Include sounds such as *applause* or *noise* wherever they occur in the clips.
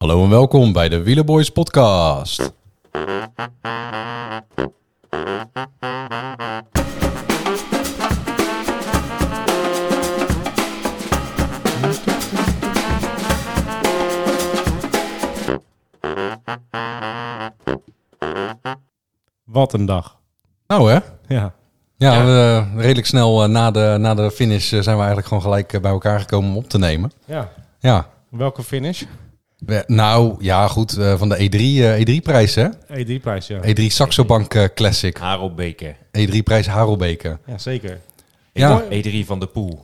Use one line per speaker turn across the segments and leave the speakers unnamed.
Hallo en welkom bij de Wielerboys podcast.
Wat een dag.
Nou hè?
Ja.
Ja,
Ja.
we, eh, redelijk snel eh, na, de, na de finish eh, zijn we eigenlijk gewoon gelijk eh, bij elkaar gekomen om op te nemen.
ja.
Ja.
Welke finish?
We- Nou, ja goed, eh, van de E3, eh, E3-prijs hè? E
E3-prijs, ja.
E3 Saxobank eh, Classic. E
Harold Beker.
E3-prijs Harelbeke.
Ja, zeker.
Ja.
E3 E van de Poel.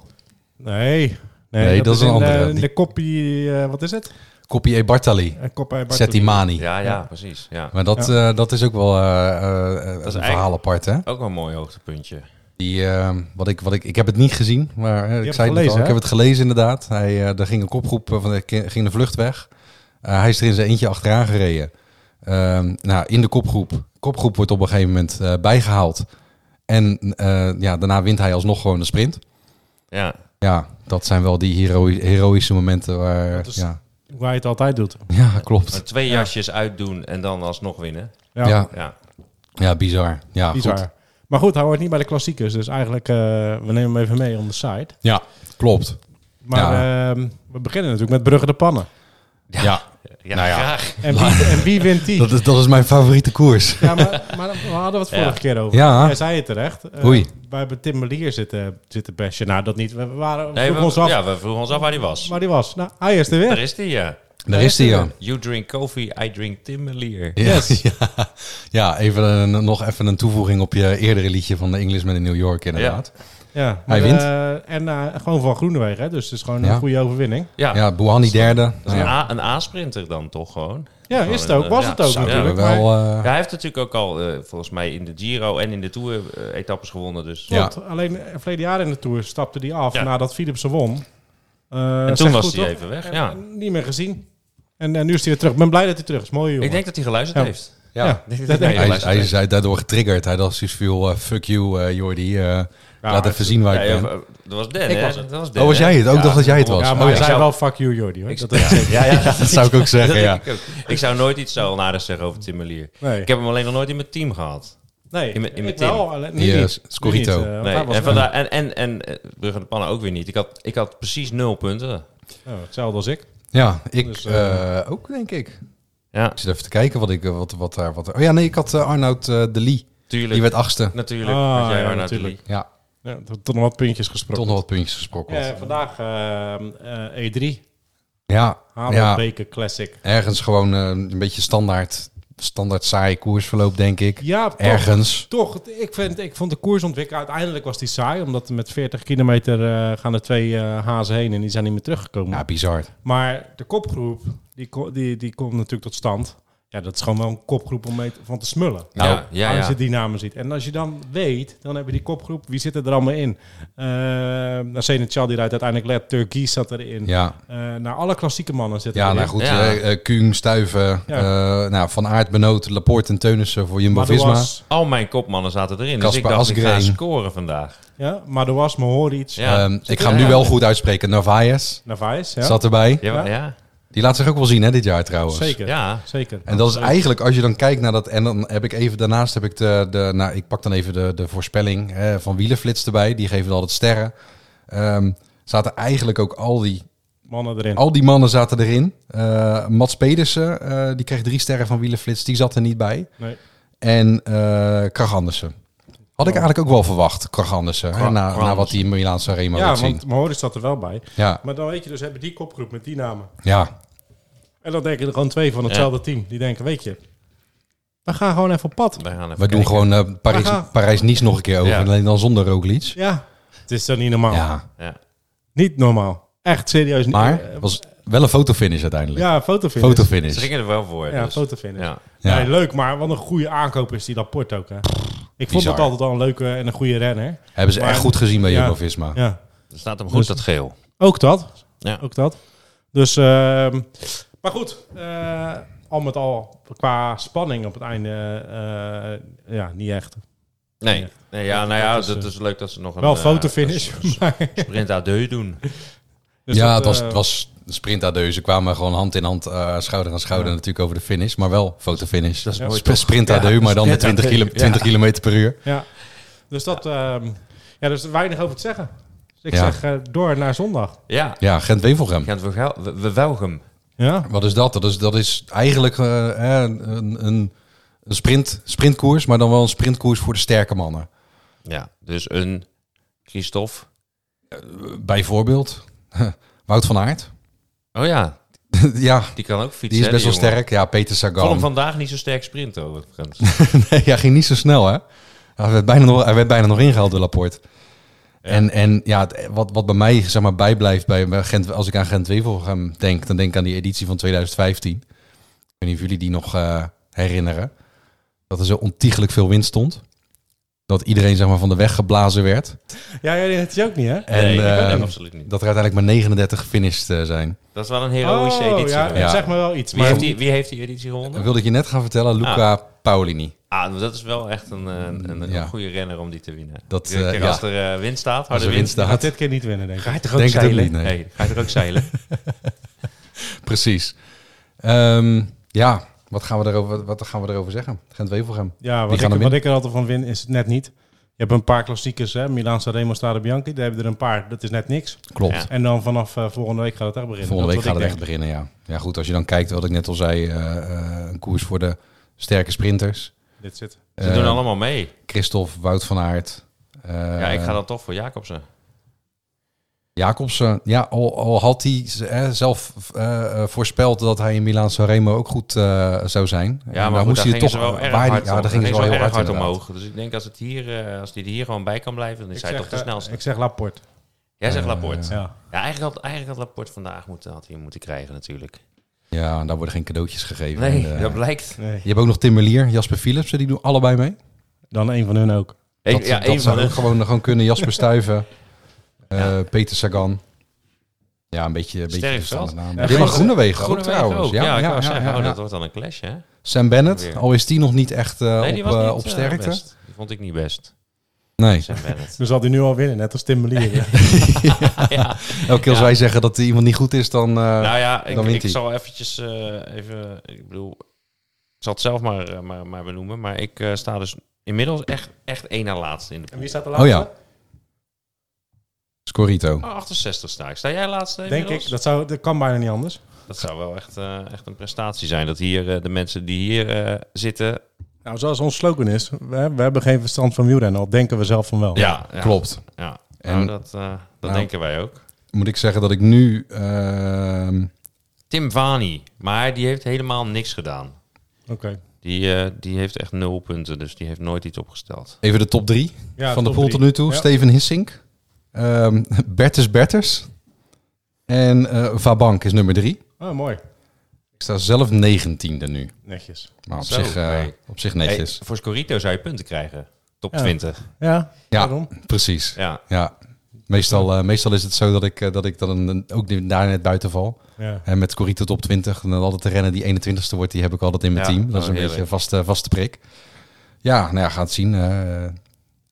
Nee.
Nee, dat is een
in,
andere.
eh, in
Die-
de kopie, eh, wat is het?
Copy E Bartali.
Een kop uit
Settimani.
Ja, ja, precies. Ja.
Maar dat, eh, dat is ook wel eh, eh, eh, een verhaal apart hè?
Ook wel een mooi hoogtepuntje.
Die, eh, wat ik, wat ik, ik heb het niet gezien, maar eh, ik
hebt
zei
het
het net al,
gelezen,
ik
hè?
heb het gelezen inderdaad. Hij, eh, er ging een kopgroep eh, van de, ki- ging de vlucht weg. Eh, hij is er in zijn eentje achteraan gereden. Ehm, nou, in de kopgroep. Kopgroep wordt op een gegeven moment eh, bijgehaald. En eh, ja, daarna wint hij alsnog gewoon de sprint.
Ja.
Ja, dat zijn wel die hero heroïsche momenten waar...
Dat is-
Ja,
Hoe hij het altijd doet.
ja klopt.
Maar twee jasjes uitdoen en dan alsnog winnen.
Ja,
Ja,
ja.
Ja.
bizar. Ja,
bizar.
Goed.
Maar goed, hij hoort niet bij de klassiekers. Dus eigenlijk, eh, we nemen hem even mee on the side.
Ja, klopt.
Maar ehm, we beginnen natuurlijk met Brugge de Pannen.
Ja,
Ja,
Nou ja.
graag.
En
*laughs*
wie, en wie wint die?
Dat, is, dat is mijn favoriete koers.
Ja, maar, maar we hadden het vorige
Ja.
keer over.
Ja.
Jij zei het terecht. Eh,
Oei.
Wij hebben Tim Melier zitten, zitten bestje. Nou, dat niet. We, we waren, we
Nee,
vroegen
we,
ons af
ja, we vroegen ons af waar die was.
waar die was. Nou, hij is er weer.
Daar is die, ja.
Daar is hij, ja.
You drink coffee, I drink Timmerlier.
Ja, *laughs* ja. ja even een, nog even een toevoeging op je eerdere liedje van de Englishman in New York inderdaad.
Ja,
Hij
maar,
wint.
eh, en eh, gewoon van Groenewegen, hè? dus het is gewoon
Ja.
een goede overwinning.
Ja.
Ja, Bouhanni derde.
Dat is
Nou
een
ja,
A- een A-sprinter dan toch gewoon. eh,
Ja, is het ook. Was het ook
Ja,
we hebben
natuurlijk. maar-
wel, eh,
Ja, hij heeft natuurlijk ook al eh, volgens mij in de Giro en in de Tour eh, etappes gewonnen. Dus.
Ja.
Klopt, alleen eh, verleden jaar in de Tour stapte die af
Ja.
nadat Philipsen won. Eh,
En toen
zeg
was
goed,
hij
toch?
even weg.
En-
Ja.
en Niet meer gezien. En eh, nu is hij weer terug. Ik ben blij dat hij terug is. Mooi jongen.
Ik denk dat hij geluisterd
Ja.
heeft.
ja.
ja.
Ik denk
Dat
dat hij
denk
Hij, is-
geluisterd
hij
heeft.
is daardoor getriggerd. Hij dacht dus veel, eh, fuck you eh Jordi. eh, laat even zien waar
Ja,
ik
ja, eh,
ben.
dat was Den,
Ik
hè?
was het.
Dat was Den,
Oh, was
hè?
jij het? Ook
Ja.
dacht dat jij het was.
ja, maar
Oh,
hij
ja.
zei
zou-
wel fuck you Jordi. Hoor.
Ik,
Dat
ja,
is zeker.
ja,
*laughs*
ja,
Dat zou ik ook zeggen, ja.
*laughs* Ik, ook. ik zou nooit iets zo onaardigs zeggen over Tim Melier.
Nee.
Ik heb hem alleen nog nooit in mijn team gehad.
nee,
in mijn- in mijn
ik
team.
wel, alleen- nu
Yes,
niet. Nu
Scorito.
niet, eh, want
Nee.
hij was
En,
wel-
vandaar, en, en, en eh, Brugge de Pannen ook weer niet. Ik had, ik had precies nul punten.
Oh, hetzelfde als ik.
Ja, ik
Dus, eh,
eh, ook denk ik.
Ja,
Ik zit even te kijken wat ik, eh, wat, wat daar, wat daar- Oh ja, nee, ik had eh, Arnoud eh, de Lee. Die
tuurlijk.
werd achtste.
Natuurlijk.
Ah,
want jij
ja,
Arnoud
natuurlijk.
Lee.
Ja,
Ja, tot- tot nog wat puntjes
toch
gesproken.
nog wat puntjes gesprokkeld.
Eh, vandaag eh, eh, E3.
Ja,
Hamelbeke
ja,
Classic.
ergens gewoon eh, een beetje standaard, standaard saaie koersverloop, denk ik.
Ja, toch.
Ergens.
Toch, het- ik, vind, ik vond de koersontwikkeling uiteindelijk was die saai. Omdat met 40 kilometer eh, gaan er twee eh, hazen heen en die zijn niet meer teruggekomen.
Ja, bizar.
Maar de kopgroep, die, ko- die, die komt natuurlijk tot stand. Ja, dat is gewoon wel een kopgroep om mee te- van te smullen.
Nou,
Nou,
ja,
als
ja.
je die namen ziet. En als je dan weet, dan heb je die kopgroep. Wie zit er allemaal in? Eh nou, Senechal die rijdt uiteindelijk led. Turkies zat erin.
Ja,
Eh, nou, alle klassieke mannen zitten
ja
erin.
nou goed.
Ja.
eh, eh, Kuhn, Stuiven,
Ja.
eh, nou, Van Aert, Benoot, Laporte en Teunissen voor Jumbo-Visma.
Madouas,
Al mijn kopmannen zaten erin. dus ik
Kasper
dacht, ik ga
Asgreen.
scoren vandaag.
ja, Madouas, Mohoric,
Ja.
Ehm,
Zit
ik
er-
ga hem nu
ja.
wel goed uitspreken. Narvaez
Narvaez. Ja,
zat erbij.
Ja,
Ja.
ja. ja.
Die laat zich ook wel zien hè, dit jaar trouwens.
zeker. Zeker.
En dat is
Ja.
eigenlijk, als je dan kijkt naar dat... En dan heb ik even, daarnaast heb ik de... de nou, ik pak dan even de, de voorspelling hè, van Wielenflits erbij. Die geven dan altijd sterren. Ehm, zaten eigenlijk ook al die...
mannen erin.
Al die mannen zaten erin. Eh, Mats Pedersen, eh, die kreeg drie sterren van Wielenflits. Die zat er niet bij.
Nee.
En eh Krag Andersen. Had ik eigenlijk ook wel verwacht, Krag Andersen. hè,
Krag-
na,
Krag
na wat die in Milaan Sanremo
Ja,
liet zien.
want Mahoris staat er wel bij.
Ja,
Maar dan weet je dus, hebben die kopgroep met die namen.
ja,
En dan denken er gewoon twee van hetzelfde team. Die denken, weet je, we gaan gewoon even op pad.
Wij gaan even
we doen
kijken.
gewoon eh, Parijs,
Aha.
Parijs-Nice nog een keer over.
Ja.
Alleen dan zonder Roglic.
Ja, het is dan niet normaal.
Ja,
Ja.
Niet normaal. Echt serieus. niet.
maar
Eh,
het was wel een fotofinish uiteindelijk.
ja, fotofinish.
Ze
Fotofinish.
gingen er wel voor.
Ja,
dus.
fotofinish.
Ja.
Ja.
Nee, leuk, maar wat een goede aankoop is die Laporte ook. Hè. Ik vond
Bizar.
het altijd al een leuke en een goede renner.
Hebben ze echt
Maar-
goed gezien bij
Ja.
Jumbo-Visma.
Ja,
Er staat
Dus-
hem goed dat geel.
ook dat.
Ja.
Ook dat. Dus, ehm, maar goed, eh, al met al qua spanning op het einde, eh, ja, niet echt.
Nee. nee ja, nou ja,
Dat is,
dat
eh, *laughs* dus-
is leuk dat ze nog een...
Wel
eh,
fotofinish.
een
maar-
Sprint à deux doen.
Dus
ja,
dat,
het was,
eh,
het was sprintadeus. Ze kwamen gewoon hand in hand, eh, schouder aan schouder
Ja.
natuurlijk over de finish. Maar wel fotofinish. Dat
is mooi,
sprint sprintadeu,
Ja,
maar dan met
sprint
20,
adeu,
kilo, 20 km per uur.
Ja, dus dat... ehm, ja, dus weinig over te zeggen. Dus ik
Ja.
zeg eh, door naar zondag.
Ja,
Ja, Gent-Wevelgem.
Gent Vergel- we- we Welgem.
Ja,
Wat is dat? Dat is, dat is eigenlijk eh, eh, een, een een sprint, sprintkoers, maar dan wel een sprintkoers voor de sterke mannen.
Ja, dus een Christophe.
Eh, Bijvoorbeeld *laughs* Wout van Aert. *laughs*
Oh ja,
ja,
die kan ook fietsen.
die is
hè,
best wel
jongen.
sterk. Ja, Peter
Ik vond hem
Sagan.
vandaag niet zo sterk sprinten, overigens.
Nee, hij ging niet zo snel, hè? Hij werd bijna nog, hij werd bijna nog ingehaald door Laporte. En, en ja, het- wat, wat bij mij zeg maar, bijblijft, bij bij Gent, als ik aan Gent-Wevelgem denk, dan denk ik aan die editie van 2015. Ik weet niet of jullie die nog eh, herinneren. Dat er zo ontiegelijk veel wind stond. Dat iedereen zeg maar, van de weg geblazen werd.
ja jij deed het ook niet, hè?
*laughs* En
nee,
eh,
ik ben absoluut niet.
dat er uiteindelijk maar 39 gefinished eh, zijn.
Dat is wel een heroïsche editie.
Oh, ja,
geweest.
Ja.
zeg maar wel iets.
Wie,
Maar
heeft die, wie heeft die editie
Dat
gewonnen?
wilde ik je net gaan vertellen, Luca Paolini.
Ah, dat is wel echt een, eh, een, een,
Ja.
goede renner om die te winnen.
Dat,
Iedere
eh,
keer
ja.
als er eh, wind staat,
Als
harde
er wind
wind.
gaat
staat.
dit keer niet winnen, denk ik.
Ga je toch ook
Denk het ook
zeilen?
niet, nee.
ga je toch ook
*laughs*
zeilen?
Precies. Ehm, ja, wat gaan, we erover, wat gaan we erover zeggen? Gent-Wevelgem.
Ja,
Die
wat
gaan
ik,
hem
wat ik er altijd van win is het net niet. Je hebt een paar klassiekers, hè? Milaan Sanremo, Strade Bianchi. Daar hebben er een paar. Dat is net niks.
Klopt.
Ja.
En dan vanaf eh, volgende week gaat het echt beginnen.
Volgende week
Dat is
gaat
wat
het
ik
echt beginnen, ja. Ja, goed, als je dan kijkt, wat ik net al zei, eh, eh, een koers voor de sterke sprinters.
denk. Dit zit.
Ze
Eh,
doen allemaal mee.
Christophe, Wout van Aert. eh,
Ja, ik ga dan toch voor Jacobsen.
Jacobsen, ja, al, al had hij z- eh, zelf eh, eh, voorspeld dat hij in Milaan Sanremo ook goed eh, zou zijn. En
Ja,
daar
maar goed,
moest
daar
hij
gingen
het toch
ze wel erg
waar die-
hard,
ja,
om-
daar gingen ze wel
gingen
heel
erg
hard,
hard
inderdaad.
omhoog. Dus ik denk als, het hier, eh, als die er hier gewoon bij kan blijven, dan is hij toch de
eh,
snelste.
ik zeg Laporte.
Jij
Eh,
zegt Laporte.
Ja. Ja.
Ja, eigenlijk had, eigenlijk had Laporte vandaag moeten, had hij hem moeten krijgen natuurlijk.
Ja, en daar worden geen cadeautjes gegeven.
Nee,
En, eh,
dat blijkt.
Nee.
Je hebt ook nog Tim Merlier, Jasper Philipsen, die doen allebei mee.
Dan een van hun ook.
Ik-
dat
ja,
dat
één
zou
van
ook
de,
gewoon, gewoon kunnen.
*laughs*
Jasper Stuiven, eh,
Ja.
Peter Sagan. Ja, een beetje, een beetje
Sterk
verstandig naam.
Ja,
Dylan
geen-
Groenewegen, ook
Groene
trouwens.
Ja,
Ja,
ik
ja,
wou
ja,
zeggen,
ja,
oh,
ja.
dat wordt dan een clash, hè?
Sam Bennett,
Weer.
al is die nog niet echt eh,
Nee,
op,
die was
eh,
niet,
op
eh,
sterkte.
best. Die vond ik niet
*laughs*
best.
nee.
Sam Bennett.
*laughs*
Dus zal hij nu al winnen, net als Tim Melier. ja.
ja.
Elke keer als
Ja.
wij zeggen dat iemand niet goed is, dan... eh,
Nou ja, ik,
dan wint
ik
hij.
zal eventjes eh, even... Ik bedoel, ik zal het zelf maar, eh, maar, maar benoemen. Maar ik eh, sta dus inmiddels echt, echt één na laatste in de
En
pool.
wie staat er
oh
laatste?
ja. Scorito.
Oh, 68 sta ik. Sta jij laatste
Denk
inmiddels?
ik. Dat, zou, dat kan bijna niet anders.
Dat zou wel echt, eh, echt een prestatie zijn. Dat hier eh, de mensen die hier eh, zitten...
Nou, zoals ons slogan is, we, we hebben geen verstand van wielrennen, al denken we zelf van wel.
Ja, ja.
Klopt.
Ja,
En-
nou, dat, eh, dat
Nou.
denken wij ook.
Moet ik zeggen dat ik nu... ehm,
Tim Vani, maar die heeft helemaal niks gedaan.
Oké.
Die, eh, die heeft echt nul punten, dus die heeft nooit iets opgesteld.
even de top drie
Ja,
van de
top
pool
drie.
tot nu toe.
Ja.
Steven Hissink, ehm, *laughs* Bertus Berters en eh Vabank is nummer drie.
Oh, mooi.
Ik sta zelf negentiende nu.
Netjes.
Maar op,
Zo,
zich, eh,
nee.
op zich netjes.
Hey, voor Scorito zou je punten krijgen. Top
Ja.
20.
Ja,
ja,
waarom?
precies.
Ja.
Ja. Meestal, eh, meestal is het zo dat ik, eh, dat ik dan een- ook daar net buiten val.
Ja.
En met Corito top 20, en dan altijd de renner die 21ste wordt, die heb ik altijd in mijn
Ja,
team. Dat
oh,
is een beetje een
heerlijk.
vaste, vaste prik. Ja, nou ja, gaat zien. eh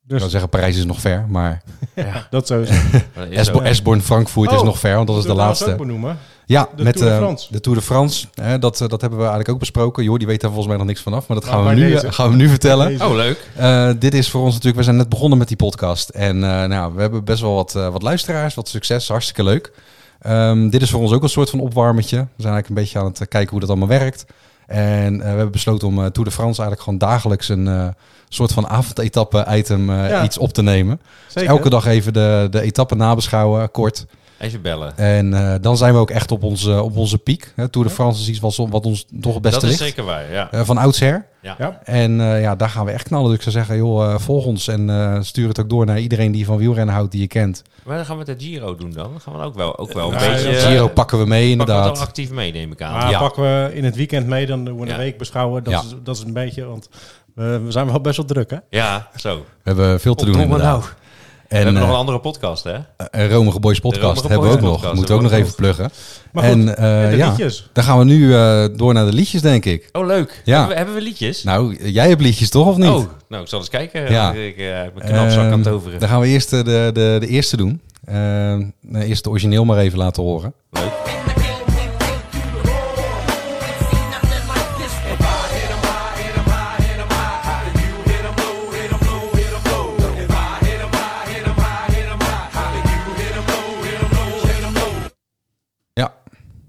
ik
Dus
zou zeggen, Parijs is nog ver, maar
ja.
dat sowieso.
dat is
Esbo-
ook-
Esborn Frankfurt is
Oh,
nog ver, want dat is de
Zullen we trouwens
laatste.
ook benoemen?
Ja,
De
met
Tour de
eh,
France.
de Tour de France. Hè, dat, eh, dat hebben we eigenlijk ook besproken. Joh, die weet daar volgens mij nog niks vanaf. Maar dat
Nou,
gaan, we
bij
nu, eh,
deze.
gaan we nu vertellen.
Deze.
Oh, leuk.
Eh, dit is voor ons natuurlijk... We zijn net begonnen met die podcast. En eh, nou, we hebben best wel wat, eh, wat luisteraars. Wat succes. Hartstikke leuk. Ehm, dit is voor ons ook een soort van opwarmetje. We zijn eigenlijk een beetje aan het eh, kijken hoe dat allemaal werkt. En eh, we hebben besloten om eh Tour de France eigenlijk gewoon dagelijks... een eh, soort van avondetappe-item eh,
Ja.
iets op te nemen.
Zeker.
Elke dag even de, de etappe nabeschouwen, eh, kort.
Even bellen.
En eh, dan zijn we ook echt op onze, op onze piek. Hè, Tour de France is iets wat, wat ons toch het beste
dat is
ligt.
zeker waar, ja.
Eh, van oudsher.
Ja.
En eh, ja, daar gaan we echt knallen. Dus ik zou zeggen, joh, eh, volg ons en eh, stuur het ook door naar iedereen die van wielrennen houdt, die je kent.
Maar dan gaan we de Giro doen dan. Dan gaan we ook wel, ook wel een
Nou,
beetje...
ja,
eh,
Giro
pakken
pakken we mee,
we het wel
inderdaad.
actief mee, neem ik aan.
Maar
Ja.
pakken we in het weekend mee, dan doen we een
Ja.
week beschouwen. Dat,
Ja.
is, dat is een beetje, want eh, we zijn wel best wel druk, hè?
Ja, zo.
We hebben veel te doen,
Opdrongen
inderdaad.
nou. we
En
hebben nog
eh
een andere podcast, hè?
een Romige Boys podcast
Romige
hebben we ook
Boys
nog.
podcast,
Moeten we ook nog
hebben we
even pluggen.
Maar
en
goed,
eh,
de
ja,
liedjes.
dan gaan we nu eh, door naar de liedjes, denk ik.
Oh, leuk.
Ja.
Hebben, we, hebben we liedjes?
Nou, jij hebt liedjes toch, of niet?
Oh, nou, ik zal eens kijken.
Ja.
Ja. Ik eh, uit mijn knapzak aan het
Ehm,
overen.
Dan gaan we eerst eh, de, de, de eerste doen. Ehm, nou, eerst de origineel maar even laten horen.
Leuk.
Ja,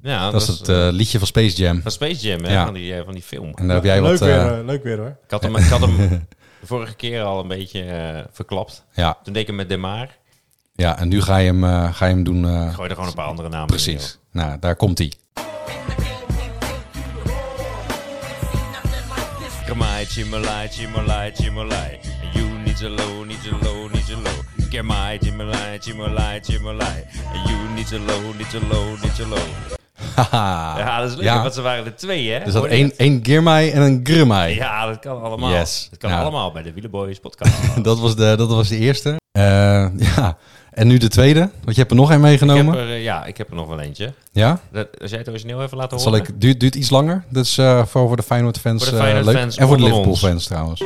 Ja,
dat is het eh, liedje van Space Jam.
van Space Jam, hè?
Ja.
Van, die, eh, van die film.
En daar heb jij
leuk,
wat...
weer,
eh,
eh, leuk weer hoor.
Ik
*laughs*
had hem, ik had hem de vorige keer al een beetje eh, verklapt.
ja,
Toen deed ik hem met Demar.
ja, en nu ga je hem, eh, ga je hem doen. eh,
Ik gooi er gewoon een paar andere namen in, joh.
precies. Nou, daar komt hij.
Kamai, chimalai, chimalai, chimalai. And you need to low, need to low, need to low. Kamai, chimalai, chimalai, chimalai. And you need to low, need to low, need to low.
Haha.
Ja, dat is leuk,
Ah, Ja.
want ze waren er twee, hè?
Er zat
Hoorde
één,
je?
één Girmai en een Grumai.
Ja, dat kan allemaal.
Yes.
Dat kan
Nou.
allemaal bij de Wielenboys podcast.
*laughs*
Ik
Dat, was de, dat was de eerste. Eh, *laughs* ja. En nu de tweede. Want je hebt er nog één meegenomen.
heb eh, er, eh, ja, ik heb er nog wel eentje.
Ja?
Dat, als jij het origineel even laten
Dat
horen.
zal ik, duurt, duurt iets langer. Dat is eh, voor, voor de Feyenoord fans
Voor de
eh,
Feyenoord
leuk.
fans
en voor de
onder
Liverpool fans
ons.
trouwens.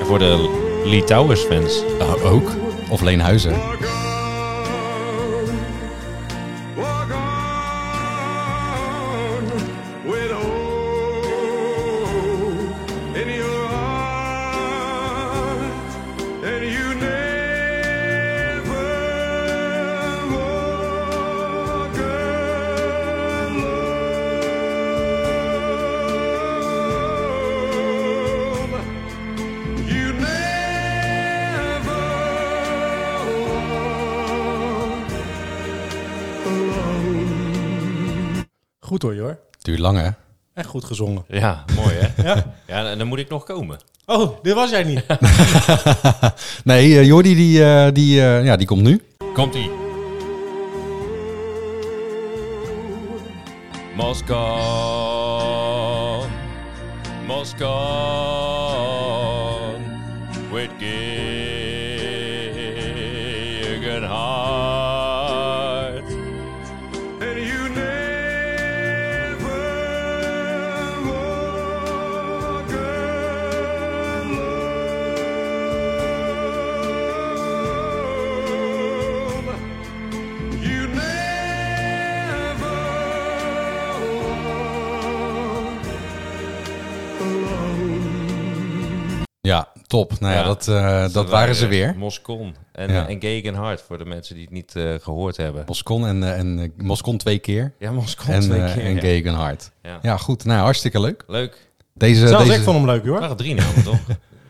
En voor de Litouwers fans.
Nou, ook. Of Leenhuizen.
Walk on with hope in your heart, and you never walk alone. You never walk
Goed hoor, hoor.
Duurt lang, hè? *laughs*
Echt goed gezongen.
Ja, mooi hè?
Ja?
Ja, en dan moet ik nog komen.
Oh, dit was jij niet.
Nee, eh, Jordi die, eh, die, eh, ja, die komt nu.
Komt-ie. Moskou. Moskou. With gegen heart.
And you never walk alone. You never walk alone.
Ja, top. Nou ja,
Ja.
dat, eh, dat waren ze weer.
Moscon en,
Ja.
en gegen heart voor de mensen die het niet eh, gehoord hebben.
Moscon en, eh, en eh, Moscon twee keer.
Ja, Moscon
En,
twee
eh,
keer.
en
ja.
Gegenhard.
Ja.
Ja, goed. Nou, hartstikke leuk.
Leuk.
Deze,
Zelfs
deze
ik vond hem leuk
Er
hoor.
waren drie *laughs* namen, toch?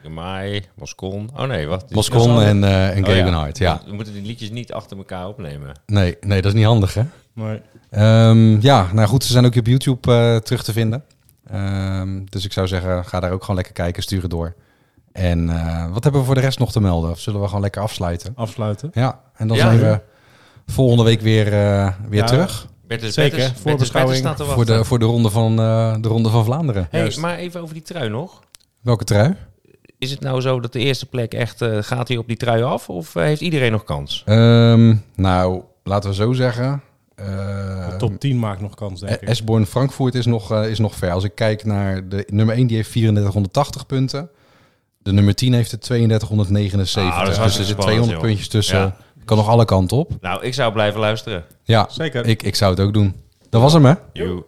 Gemai, Moscon. Oh nee, wacht.
Moscon en, eh en
Oh,
Gegenhard. Ja.
We moeten die liedjes niet achter elkaar opnemen.
Nee, nee, dat is niet handig, hè?
Nee.
Ehm, ja, nou goed, ze zijn ook op YouTube eh, terug te vinden. Ehm, dus ik zou zeggen, ga daar ook gewoon lekker kijken, stuur het door. En eh, wat hebben we voor de rest nog te melden? Of zullen we gewoon lekker afsluiten?
Afsluiten.
Ja, en dan
Ja.
zijn we volgende week weer, eh, weer
Ja,
terug
Bertus,
Zeker,
Bertus, Bertus,
voorbeschouwing
Bertus staat er
voor de, voor de, ronde, van, eh, de ronde van Vlaanderen.
hey,
Juist.
maar even over die trui nog.
Welke trui?
Is het nou zo dat de eerste plek echt... eh, gaat hij op die trui af? Of eh, heeft iedereen nog kans?
Ehm, nou, laten we zo zeggen. eh,
De top 10 maakt nog kans, denk ik.
Esborn Frankfurt is nog, eh, is nog ver. Als ik kijk naar de nummer 1, die heeft 3480 punten. De nummer 10 heeft er 3279.
Ah, dat is
dus er
hartstikke
zitten
spannend,
200
joh.
puntjes tussen.
Ja.
Kan nog alle kanten op.
Nou, ik zou blijven luisteren.
Ja,
Zeker.
Ik, ik zou het ook doen. Dat was hem, hè?
Joe.